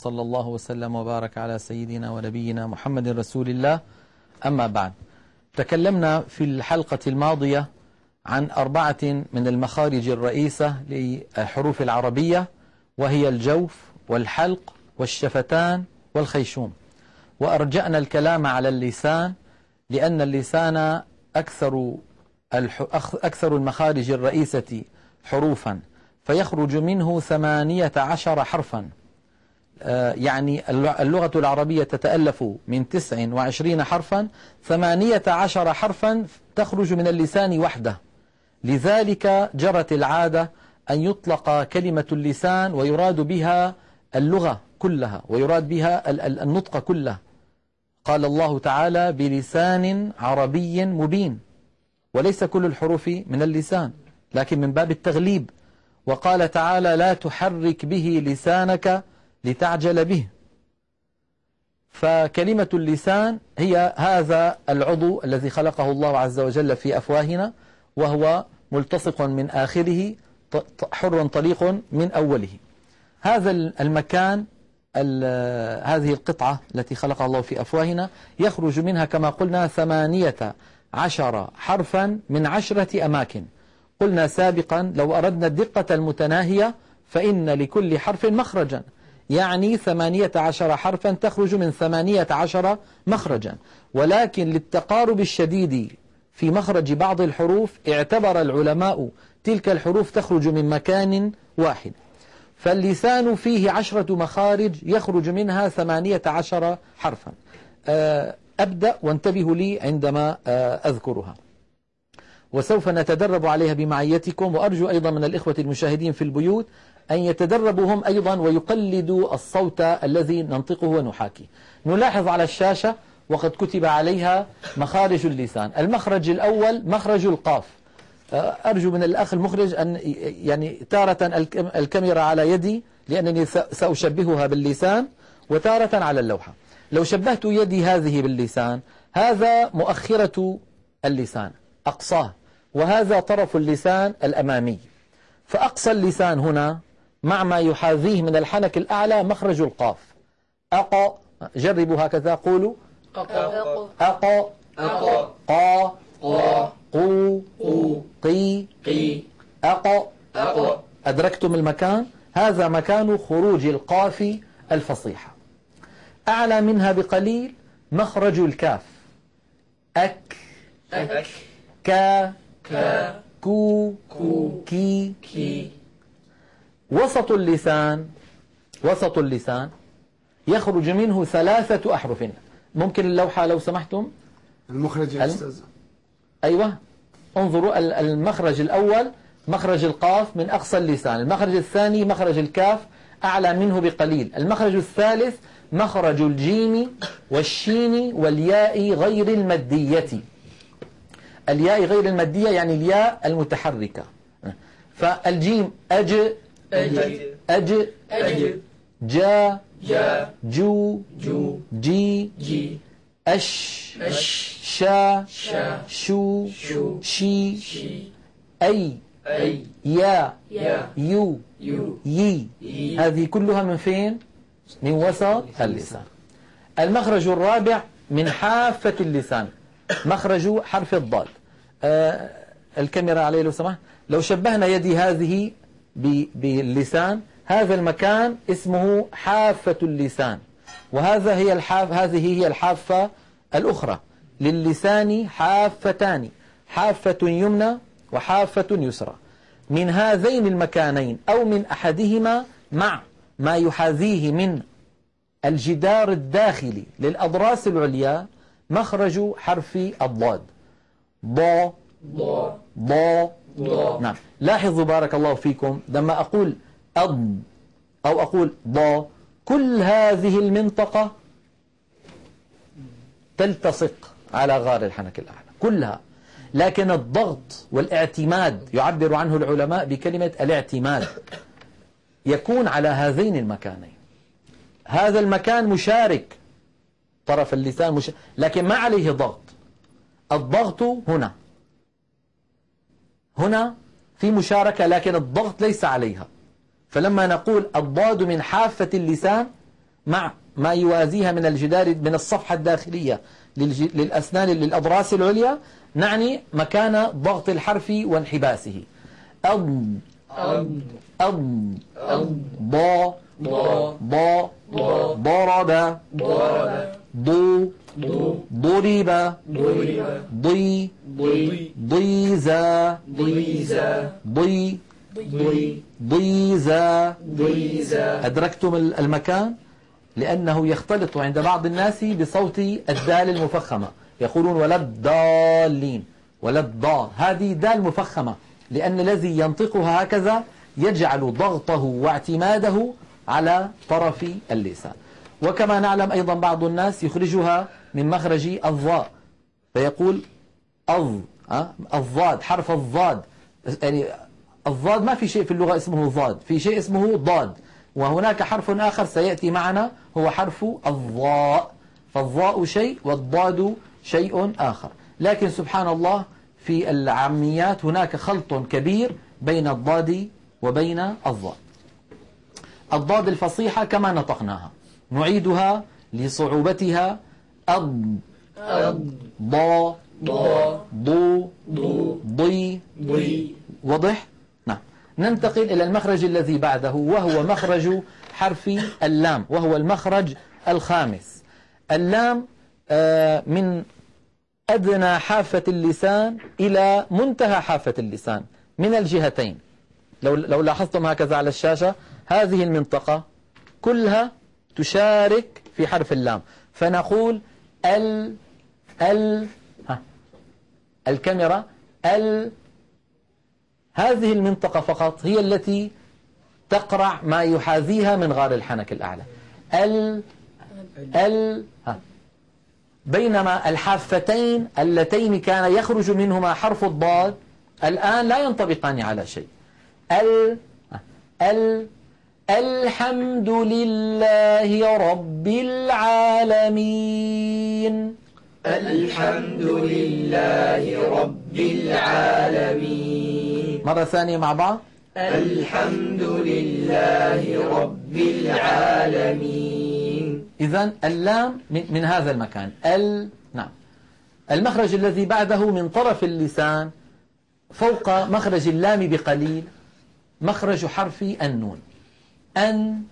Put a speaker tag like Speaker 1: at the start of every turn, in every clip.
Speaker 1: وصلى الله وسلم وبارك على سيدنا ونبينا محمد رسول الله أما بعد تكلمنا في الحلقة الماضية عن أربعة من المخارج الرئيسة للحروف العربية وهي الجوف والحلق والشفتان والخيشوم وأرجأنا الكلام على اللسان لأن اللسان أكثر أكثر المخارج الرئيسة حروفا فيخرج منه ثمانية عشر حرفا يعني اللغة العربية تتألف من تسع وعشرين حرفا ثمانية عشر حرفا تخرج من اللسان وحده لذلك جرت العادة أن يطلق كلمة اللسان ويراد بها اللغة كلها ويراد بها النطق كله قال الله تعالى بلسان عربي مبين وليس كل الحروف من اللسان لكن من باب التغليب وقال تعالى لا تحرك به لسانك لتعجل به فكلمة اللسان هي هذا العضو الذي خلقه الله عز وجل في أفواهنا وهو ملتصق من آخره حر طليق من أوله هذا المكان هذه القطعة التي خلقها الله في أفواهنا يخرج منها كما قلنا ثمانية عشر حرفا من عشرة أماكن قلنا سابقا لو أردنا الدقة المتناهية فإن لكل حرف مخرجا يعني ثمانية عشر حرفا تخرج من ثمانية عشر مخرجا ولكن للتقارب الشديد في مخرج بعض الحروف اعتبر العلماء تلك الحروف تخرج من مكان واحد فاللسان فيه عشرة مخارج يخرج منها ثمانية عشر حرفا أبدأ وانتبهوا لي عندما آه، أذكرها وسوف نتدرب عليها بمعيتكم وأرجو أيضا من الإخوة المشاهدين في البيوت أن يتدربوا هم أيضا ويقلدوا الصوت الذي ننطقه ونحاكي نلاحظ على الشاشة وقد كتب عليها مخارج اللسان المخرج الأول مخرج القاف أرجو من الأخ المخرج أن يعني تارة الكاميرا على يدي لأنني سأشبهها باللسان وتارة على اللوحة لو شبهت يدي هذه باللسان هذا مؤخرة اللسان أقصاه وهذا طرف اللسان الأمامي فأقصى اللسان هنا مع ما يحاذيه من الحنك الأعلى مخرج القاف أق جربوا هكذا قولوا أق أق قا قا قو قو قي قي أق أق أدركتم المكان هذا مكان خروج القاف الفصيحة أعلى منها بقليل مخرج الكاف أك أك كا كا كو كو كي كي وسط اللسان وسط اللسان يخرج منه ثلاثة أحرف ممكن اللوحة لو سمحتم
Speaker 2: المخرج يا أستاذ
Speaker 1: أيوة انظروا المخرج الأول مخرج القاف من أقصى اللسان المخرج الثاني مخرج الكاف أعلى منه بقليل المخرج الثالث مخرج الجيم والشين والياء غير المادية الياء غير المادية يعني الياء المتحركة فالجيم أج أج أج, أج جا جا جو جو جي جي أش أش شا شا شو شو شي شي أي أي يا يا يو يو يي هذه كلها من فين؟ من وسط اللسان المخرج الرابع من حافة اللسان مخرج حرف الضاد آه الكاميرا عليه لو سمحت لو شبهنا يدي هذه باللسان هذا المكان اسمه حافة اللسان وهذا هي الحاف هذه هي الحافة الأخرى للسان حافتان حافة يمنى وحافة يسرى من هذين المكانين أو من أحدهما مع ما يحاذيه من الجدار الداخلي للأضراس العليا مخرج حرف الضاد ضا ضا ضا نعم لاحظوا بارك الله فيكم لما أقول أض أو أقول ضا كل هذه المنطقة تلتصق على غار الحنك الأعلى كلها لكن الضغط والاعتماد يعبر عنه العلماء بكلمة الاعتماد يكون على هذين المكانين هذا المكان مشارك طرف اللسان مش... لكن ما عليه ضغط الضغط هنا هنا في مشاركة لكن الضغط ليس عليها فلما نقول الضاد من حافة اللسان مع ما يوازيها من الجدار من الصفحة الداخلية للج- للأسنان للأضراس العليا نعني مكان ضغط الحرف وانحباسه أض
Speaker 3: أض
Speaker 1: أض
Speaker 3: أض
Speaker 1: ضا
Speaker 3: ضا
Speaker 1: ضا
Speaker 3: ضا
Speaker 1: ضرب
Speaker 3: ضرب
Speaker 1: ضو
Speaker 3: ضو
Speaker 1: ضرب
Speaker 3: ضرب
Speaker 1: ضي
Speaker 3: ضي
Speaker 1: ضيزا
Speaker 3: ضيزا
Speaker 1: ضي
Speaker 3: ضي
Speaker 1: ضيزا
Speaker 3: ضيزا
Speaker 1: أدركتم ال- المكان لأنه يختلط عند بعض الناس بصوت الدال المفخمة يقولون ولا الضالين ولا الضال هذه دال مفخمة لأن الذي ينطقها هكذا يجعل ضغطه واعتماده على طرف اللسان وكما نعلم أيضا بعض الناس يخرجها من مخرج الظاء فيقول الض أه؟ الضاد حرف الضاد يعني الضاد ما في شيء في اللغة اسمه ضاد في شيء اسمه ضاد وهناك حرف آخر سيأتي معنا هو حرف الضاء فالضاء شيء والضاد شيء آخر لكن سبحان الله في العاميات هناك خلط كبير بين الضاد وبين الضاد الضاد الفصيحة كما نطقناها نعيدها لصعوبتها أض
Speaker 3: أض
Speaker 1: ضا
Speaker 3: ضا
Speaker 1: ضو
Speaker 3: ضو
Speaker 1: ضي
Speaker 3: ضي
Speaker 1: واضح؟ نعم ننتقل إلى المخرج الذي بعده وهو مخرج حرف اللام وهو المخرج الخامس اللام آه، من أدنى حافة اللسان إلى منتهى حافة اللسان من الجهتين لو لو لاحظتم هكذا على الشاشة هذه المنطقة كلها تشارك في حرف اللام فنقول ال ال ها الكاميرا ال هذه المنطقة فقط هي التي تقرع ما يحاذيها من غار الحنك الأعلى ال ال ها بينما الحافتين اللتين كان يخرج منهما حرف الضاد الآن لا ينطبقان على شيء ال ال الحمد لله رب العالمين
Speaker 3: الحمد لله رب العالمين
Speaker 1: مرة ثانية مع بعض
Speaker 3: الحمد لله رب العالمين
Speaker 1: إذا اللام من, من هذا المكان ال نعم المخرج الذي بعده من طرف اللسان فوق مخرج اللام بقليل مخرج حرف النون أن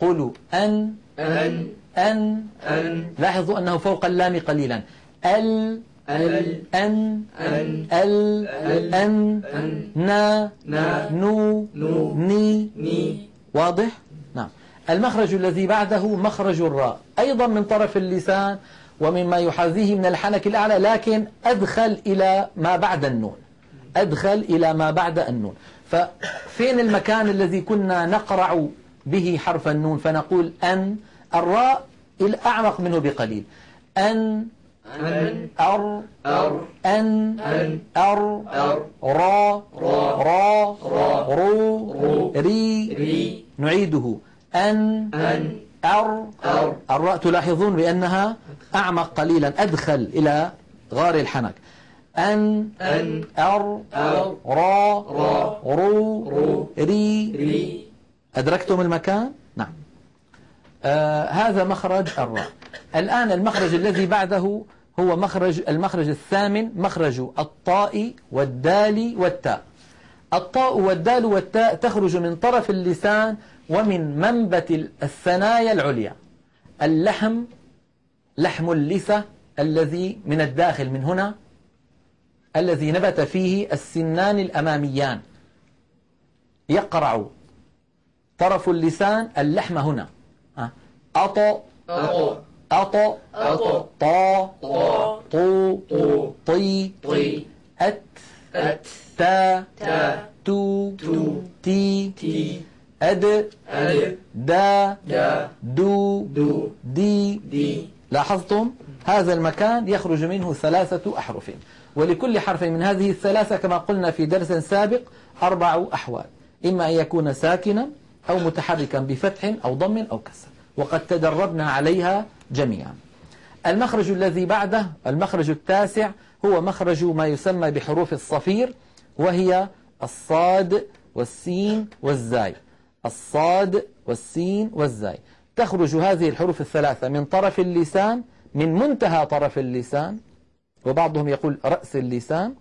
Speaker 1: قولوا أن
Speaker 3: أن
Speaker 1: أن
Speaker 3: أن
Speaker 1: لاحظوا أنه فوق اللام قليلا ال
Speaker 3: ال
Speaker 1: أن
Speaker 3: أن
Speaker 1: ال
Speaker 3: ال-
Speaker 1: أن
Speaker 3: أن
Speaker 1: نا
Speaker 3: نا
Speaker 1: نو
Speaker 3: نو
Speaker 1: ني
Speaker 3: ني
Speaker 1: واضح؟ نعم المخرج الذي بعده مخرج الراء أيضا من طرف اللسان ومما يحاذيه من الحنك الأعلى لكن أدخل إلى ما بعد النون أدخل إلى ما بعد النون ففين المكان الذي كنا نقرع به حرف النون فنقول أن الراء الأعمق منه بقليل أن
Speaker 3: أن
Speaker 1: أر
Speaker 3: أر
Speaker 1: أن
Speaker 3: أن
Speaker 1: أر
Speaker 3: أر
Speaker 1: را
Speaker 3: را
Speaker 1: را
Speaker 3: را
Speaker 1: رو
Speaker 3: رو
Speaker 1: ري
Speaker 3: ري
Speaker 1: نعيده أن
Speaker 3: أن
Speaker 1: أر
Speaker 3: أر.
Speaker 1: الراء تلاحظون بأنها أعمق قليلا أدخل إلى غار الحنك أن
Speaker 3: أن
Speaker 1: أر
Speaker 3: أر
Speaker 1: را
Speaker 3: را
Speaker 1: رو
Speaker 3: رو
Speaker 1: ري
Speaker 3: ري
Speaker 1: أدركتم المكان؟ نعم آه هذا مخرج الراء الآن المخرج الذي بعده هو مخرج المخرج الثامن مخرج الطاء والدال والتاء الطاء والدال والتاء تخرج من طرف اللسان ومن منبت الثنايا العليا اللحم لحم اللثة الذي من الداخل من هنا الذي نبت فيه السنان الأماميان يقرع طرف اللسان اللحم هنا آه. أط
Speaker 3: أط
Speaker 1: أط
Speaker 3: أط
Speaker 1: طا
Speaker 3: طا
Speaker 1: طو
Speaker 3: طو
Speaker 1: طي
Speaker 3: طي
Speaker 1: أت
Speaker 3: أت
Speaker 1: تا
Speaker 3: تا
Speaker 1: تو
Speaker 3: تو
Speaker 1: تي
Speaker 3: تي
Speaker 1: أد
Speaker 3: أد
Speaker 1: دا
Speaker 3: دا
Speaker 1: دو
Speaker 3: دو
Speaker 1: دي
Speaker 3: دي
Speaker 1: لاحظتم هذا المكان يخرج منه ثلاثة أحرف ولكل حرف من هذه الثلاثة كما قلنا في درس سابق أربع أحوال إما أن يكون ساكنا أو متحركا بفتح أو ضم أو كسر وقد تدربنا عليها جميعا المخرج الذي بعده المخرج التاسع هو مخرج ما يسمى بحروف الصفير وهي الصاد والسين والزاي الصاد والسين والزاي تخرج هذه الحروف الثلاثة من طرف اللسان من منتهى طرف اللسان وبعضهم يقول رأس اللسان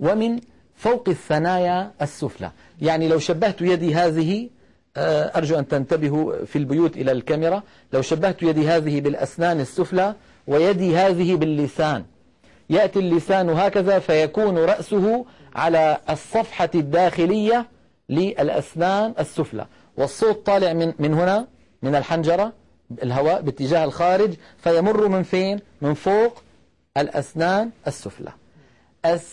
Speaker 1: ومن فوق الثنايا السفلى يعني لو شبهت يدي هذه آه، أرجو أن تنتبهوا في البيوت إلى الكاميرا لو شبهت يدي هذه بالأسنان السفلى ويدي هذه باللسان يأتي اللسان هكذا فيكون رأسه على الصفحة الداخلية للأسنان السفلى والصوت طالع من, من هنا من الحنجرة الهواء باتجاه الخارج فيمر من فين من فوق الأسنان السفلى أس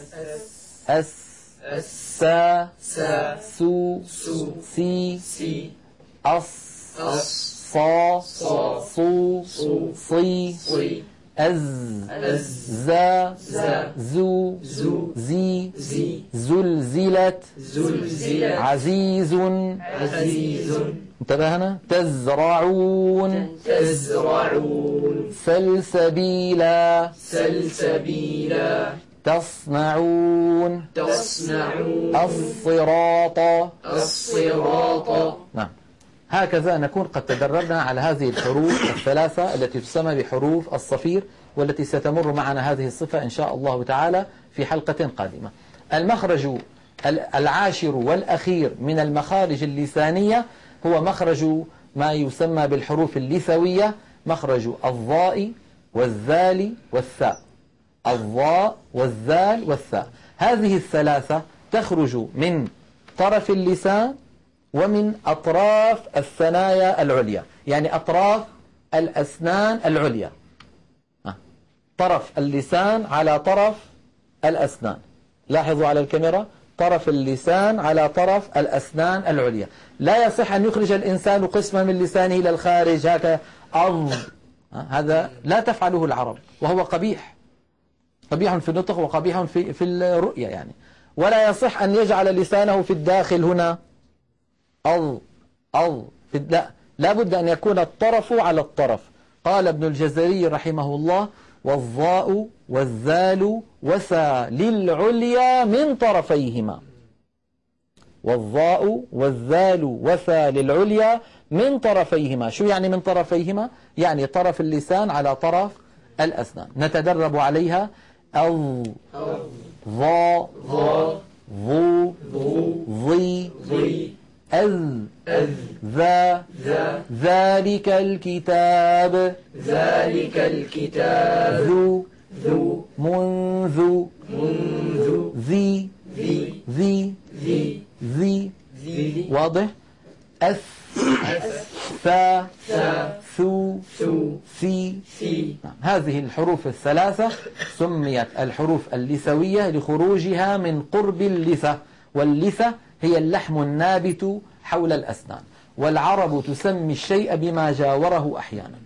Speaker 3: أس
Speaker 1: أس
Speaker 3: أس
Speaker 1: سا
Speaker 3: سا
Speaker 1: سو
Speaker 3: سو
Speaker 1: سي
Speaker 3: سي
Speaker 1: أص
Speaker 3: أص
Speaker 1: صا
Speaker 3: صا
Speaker 1: صو
Speaker 3: صو
Speaker 1: صي
Speaker 3: صي
Speaker 1: أز
Speaker 3: أز
Speaker 1: زا
Speaker 3: زا
Speaker 1: زو
Speaker 3: زو
Speaker 1: زي
Speaker 3: زي
Speaker 1: زلزلت
Speaker 3: زلزلت
Speaker 1: عزيز
Speaker 3: عزيز
Speaker 1: انتبهنا تزرعون
Speaker 3: تزرعون
Speaker 1: سلسبيلا
Speaker 3: سلسبيلا
Speaker 1: تصنعون
Speaker 3: تصنعون
Speaker 1: الصراط
Speaker 3: الصراط
Speaker 1: نعم هكذا نكون قد تدربنا على هذه الحروف الثلاثة التي تسمى بحروف الصفير والتي ستمر معنا هذه الصفة إن شاء الله تعالى في حلقة قادمة المخرج ال- العاشر والأخير من المخارج اللسانية هو مخرج ما يسمى بالحروف اللثوية مخرج الضاء والذال والثاء الضاء والذال والثاء هذه الثلاثة تخرج من طرف اللسان ومن أطراف الثنايا العليا يعني أطراف الأسنان العليا ها. طرف اللسان على طرف الأسنان لاحظوا على الكاميرا طرف اللسان على طرف الأسنان العليا لا يصح أن يخرج الإنسان قسما من لسانه إلى الخارج هكذا أض ها. هذا لا تفعله العرب وهو قبيح قبيح في النطق وقبيح في في الرؤية يعني ولا يصح أن يجعل لسانه في الداخل هنا أض أض في الد- لا لابد أن يكون الطرف على الطرف قال ابن الجزري رحمه الله والظاء والذال وثا للعليا من طرفيهما والظاء والذال وثا للعليا من طرفيهما شو يعني من طرفيهما؟ يعني طرف اللسان على طرف الأسنان نتدرب عليها أو ظا
Speaker 3: ظا
Speaker 1: ظو
Speaker 3: ظو
Speaker 1: ظي
Speaker 3: ظي
Speaker 1: أذ
Speaker 3: أذ
Speaker 1: ذا
Speaker 3: ذا
Speaker 1: ذلك الكتاب
Speaker 3: ذلك الكتاب
Speaker 1: ذو
Speaker 3: ذو
Speaker 1: منذ
Speaker 3: منذ
Speaker 1: ذي
Speaker 3: ذي
Speaker 1: ذي
Speaker 3: ذي
Speaker 1: ذي
Speaker 3: ذي
Speaker 1: واضح أث
Speaker 3: أس
Speaker 1: ثا
Speaker 3: ثا
Speaker 1: ثو
Speaker 3: ثو
Speaker 1: ثي
Speaker 3: ثي
Speaker 1: نعم هذه الحروف الثلاثة سميت الحروف اللثوية لخروجها من قرب اللثة واللثة هي اللحم النابت حول الأسنان والعرب تسمي الشيء بما جاوره أحيانا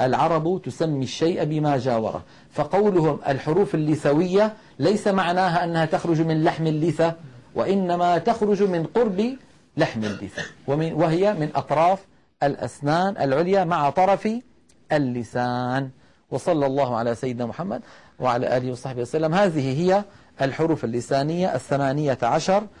Speaker 1: العرب تسمي الشيء بما جاوره فقولهم الحروف اللثوية ليس معناها أنها تخرج من لحم اللثة وإنما تخرج من قرب لحم اللثة ومن وهي من أطراف الأسنان العليا مع طرف اللسان وصلى الله على سيدنا محمد وعلى آله وصحبه وسلم هذه هي الحروف اللسانية الثمانية عشر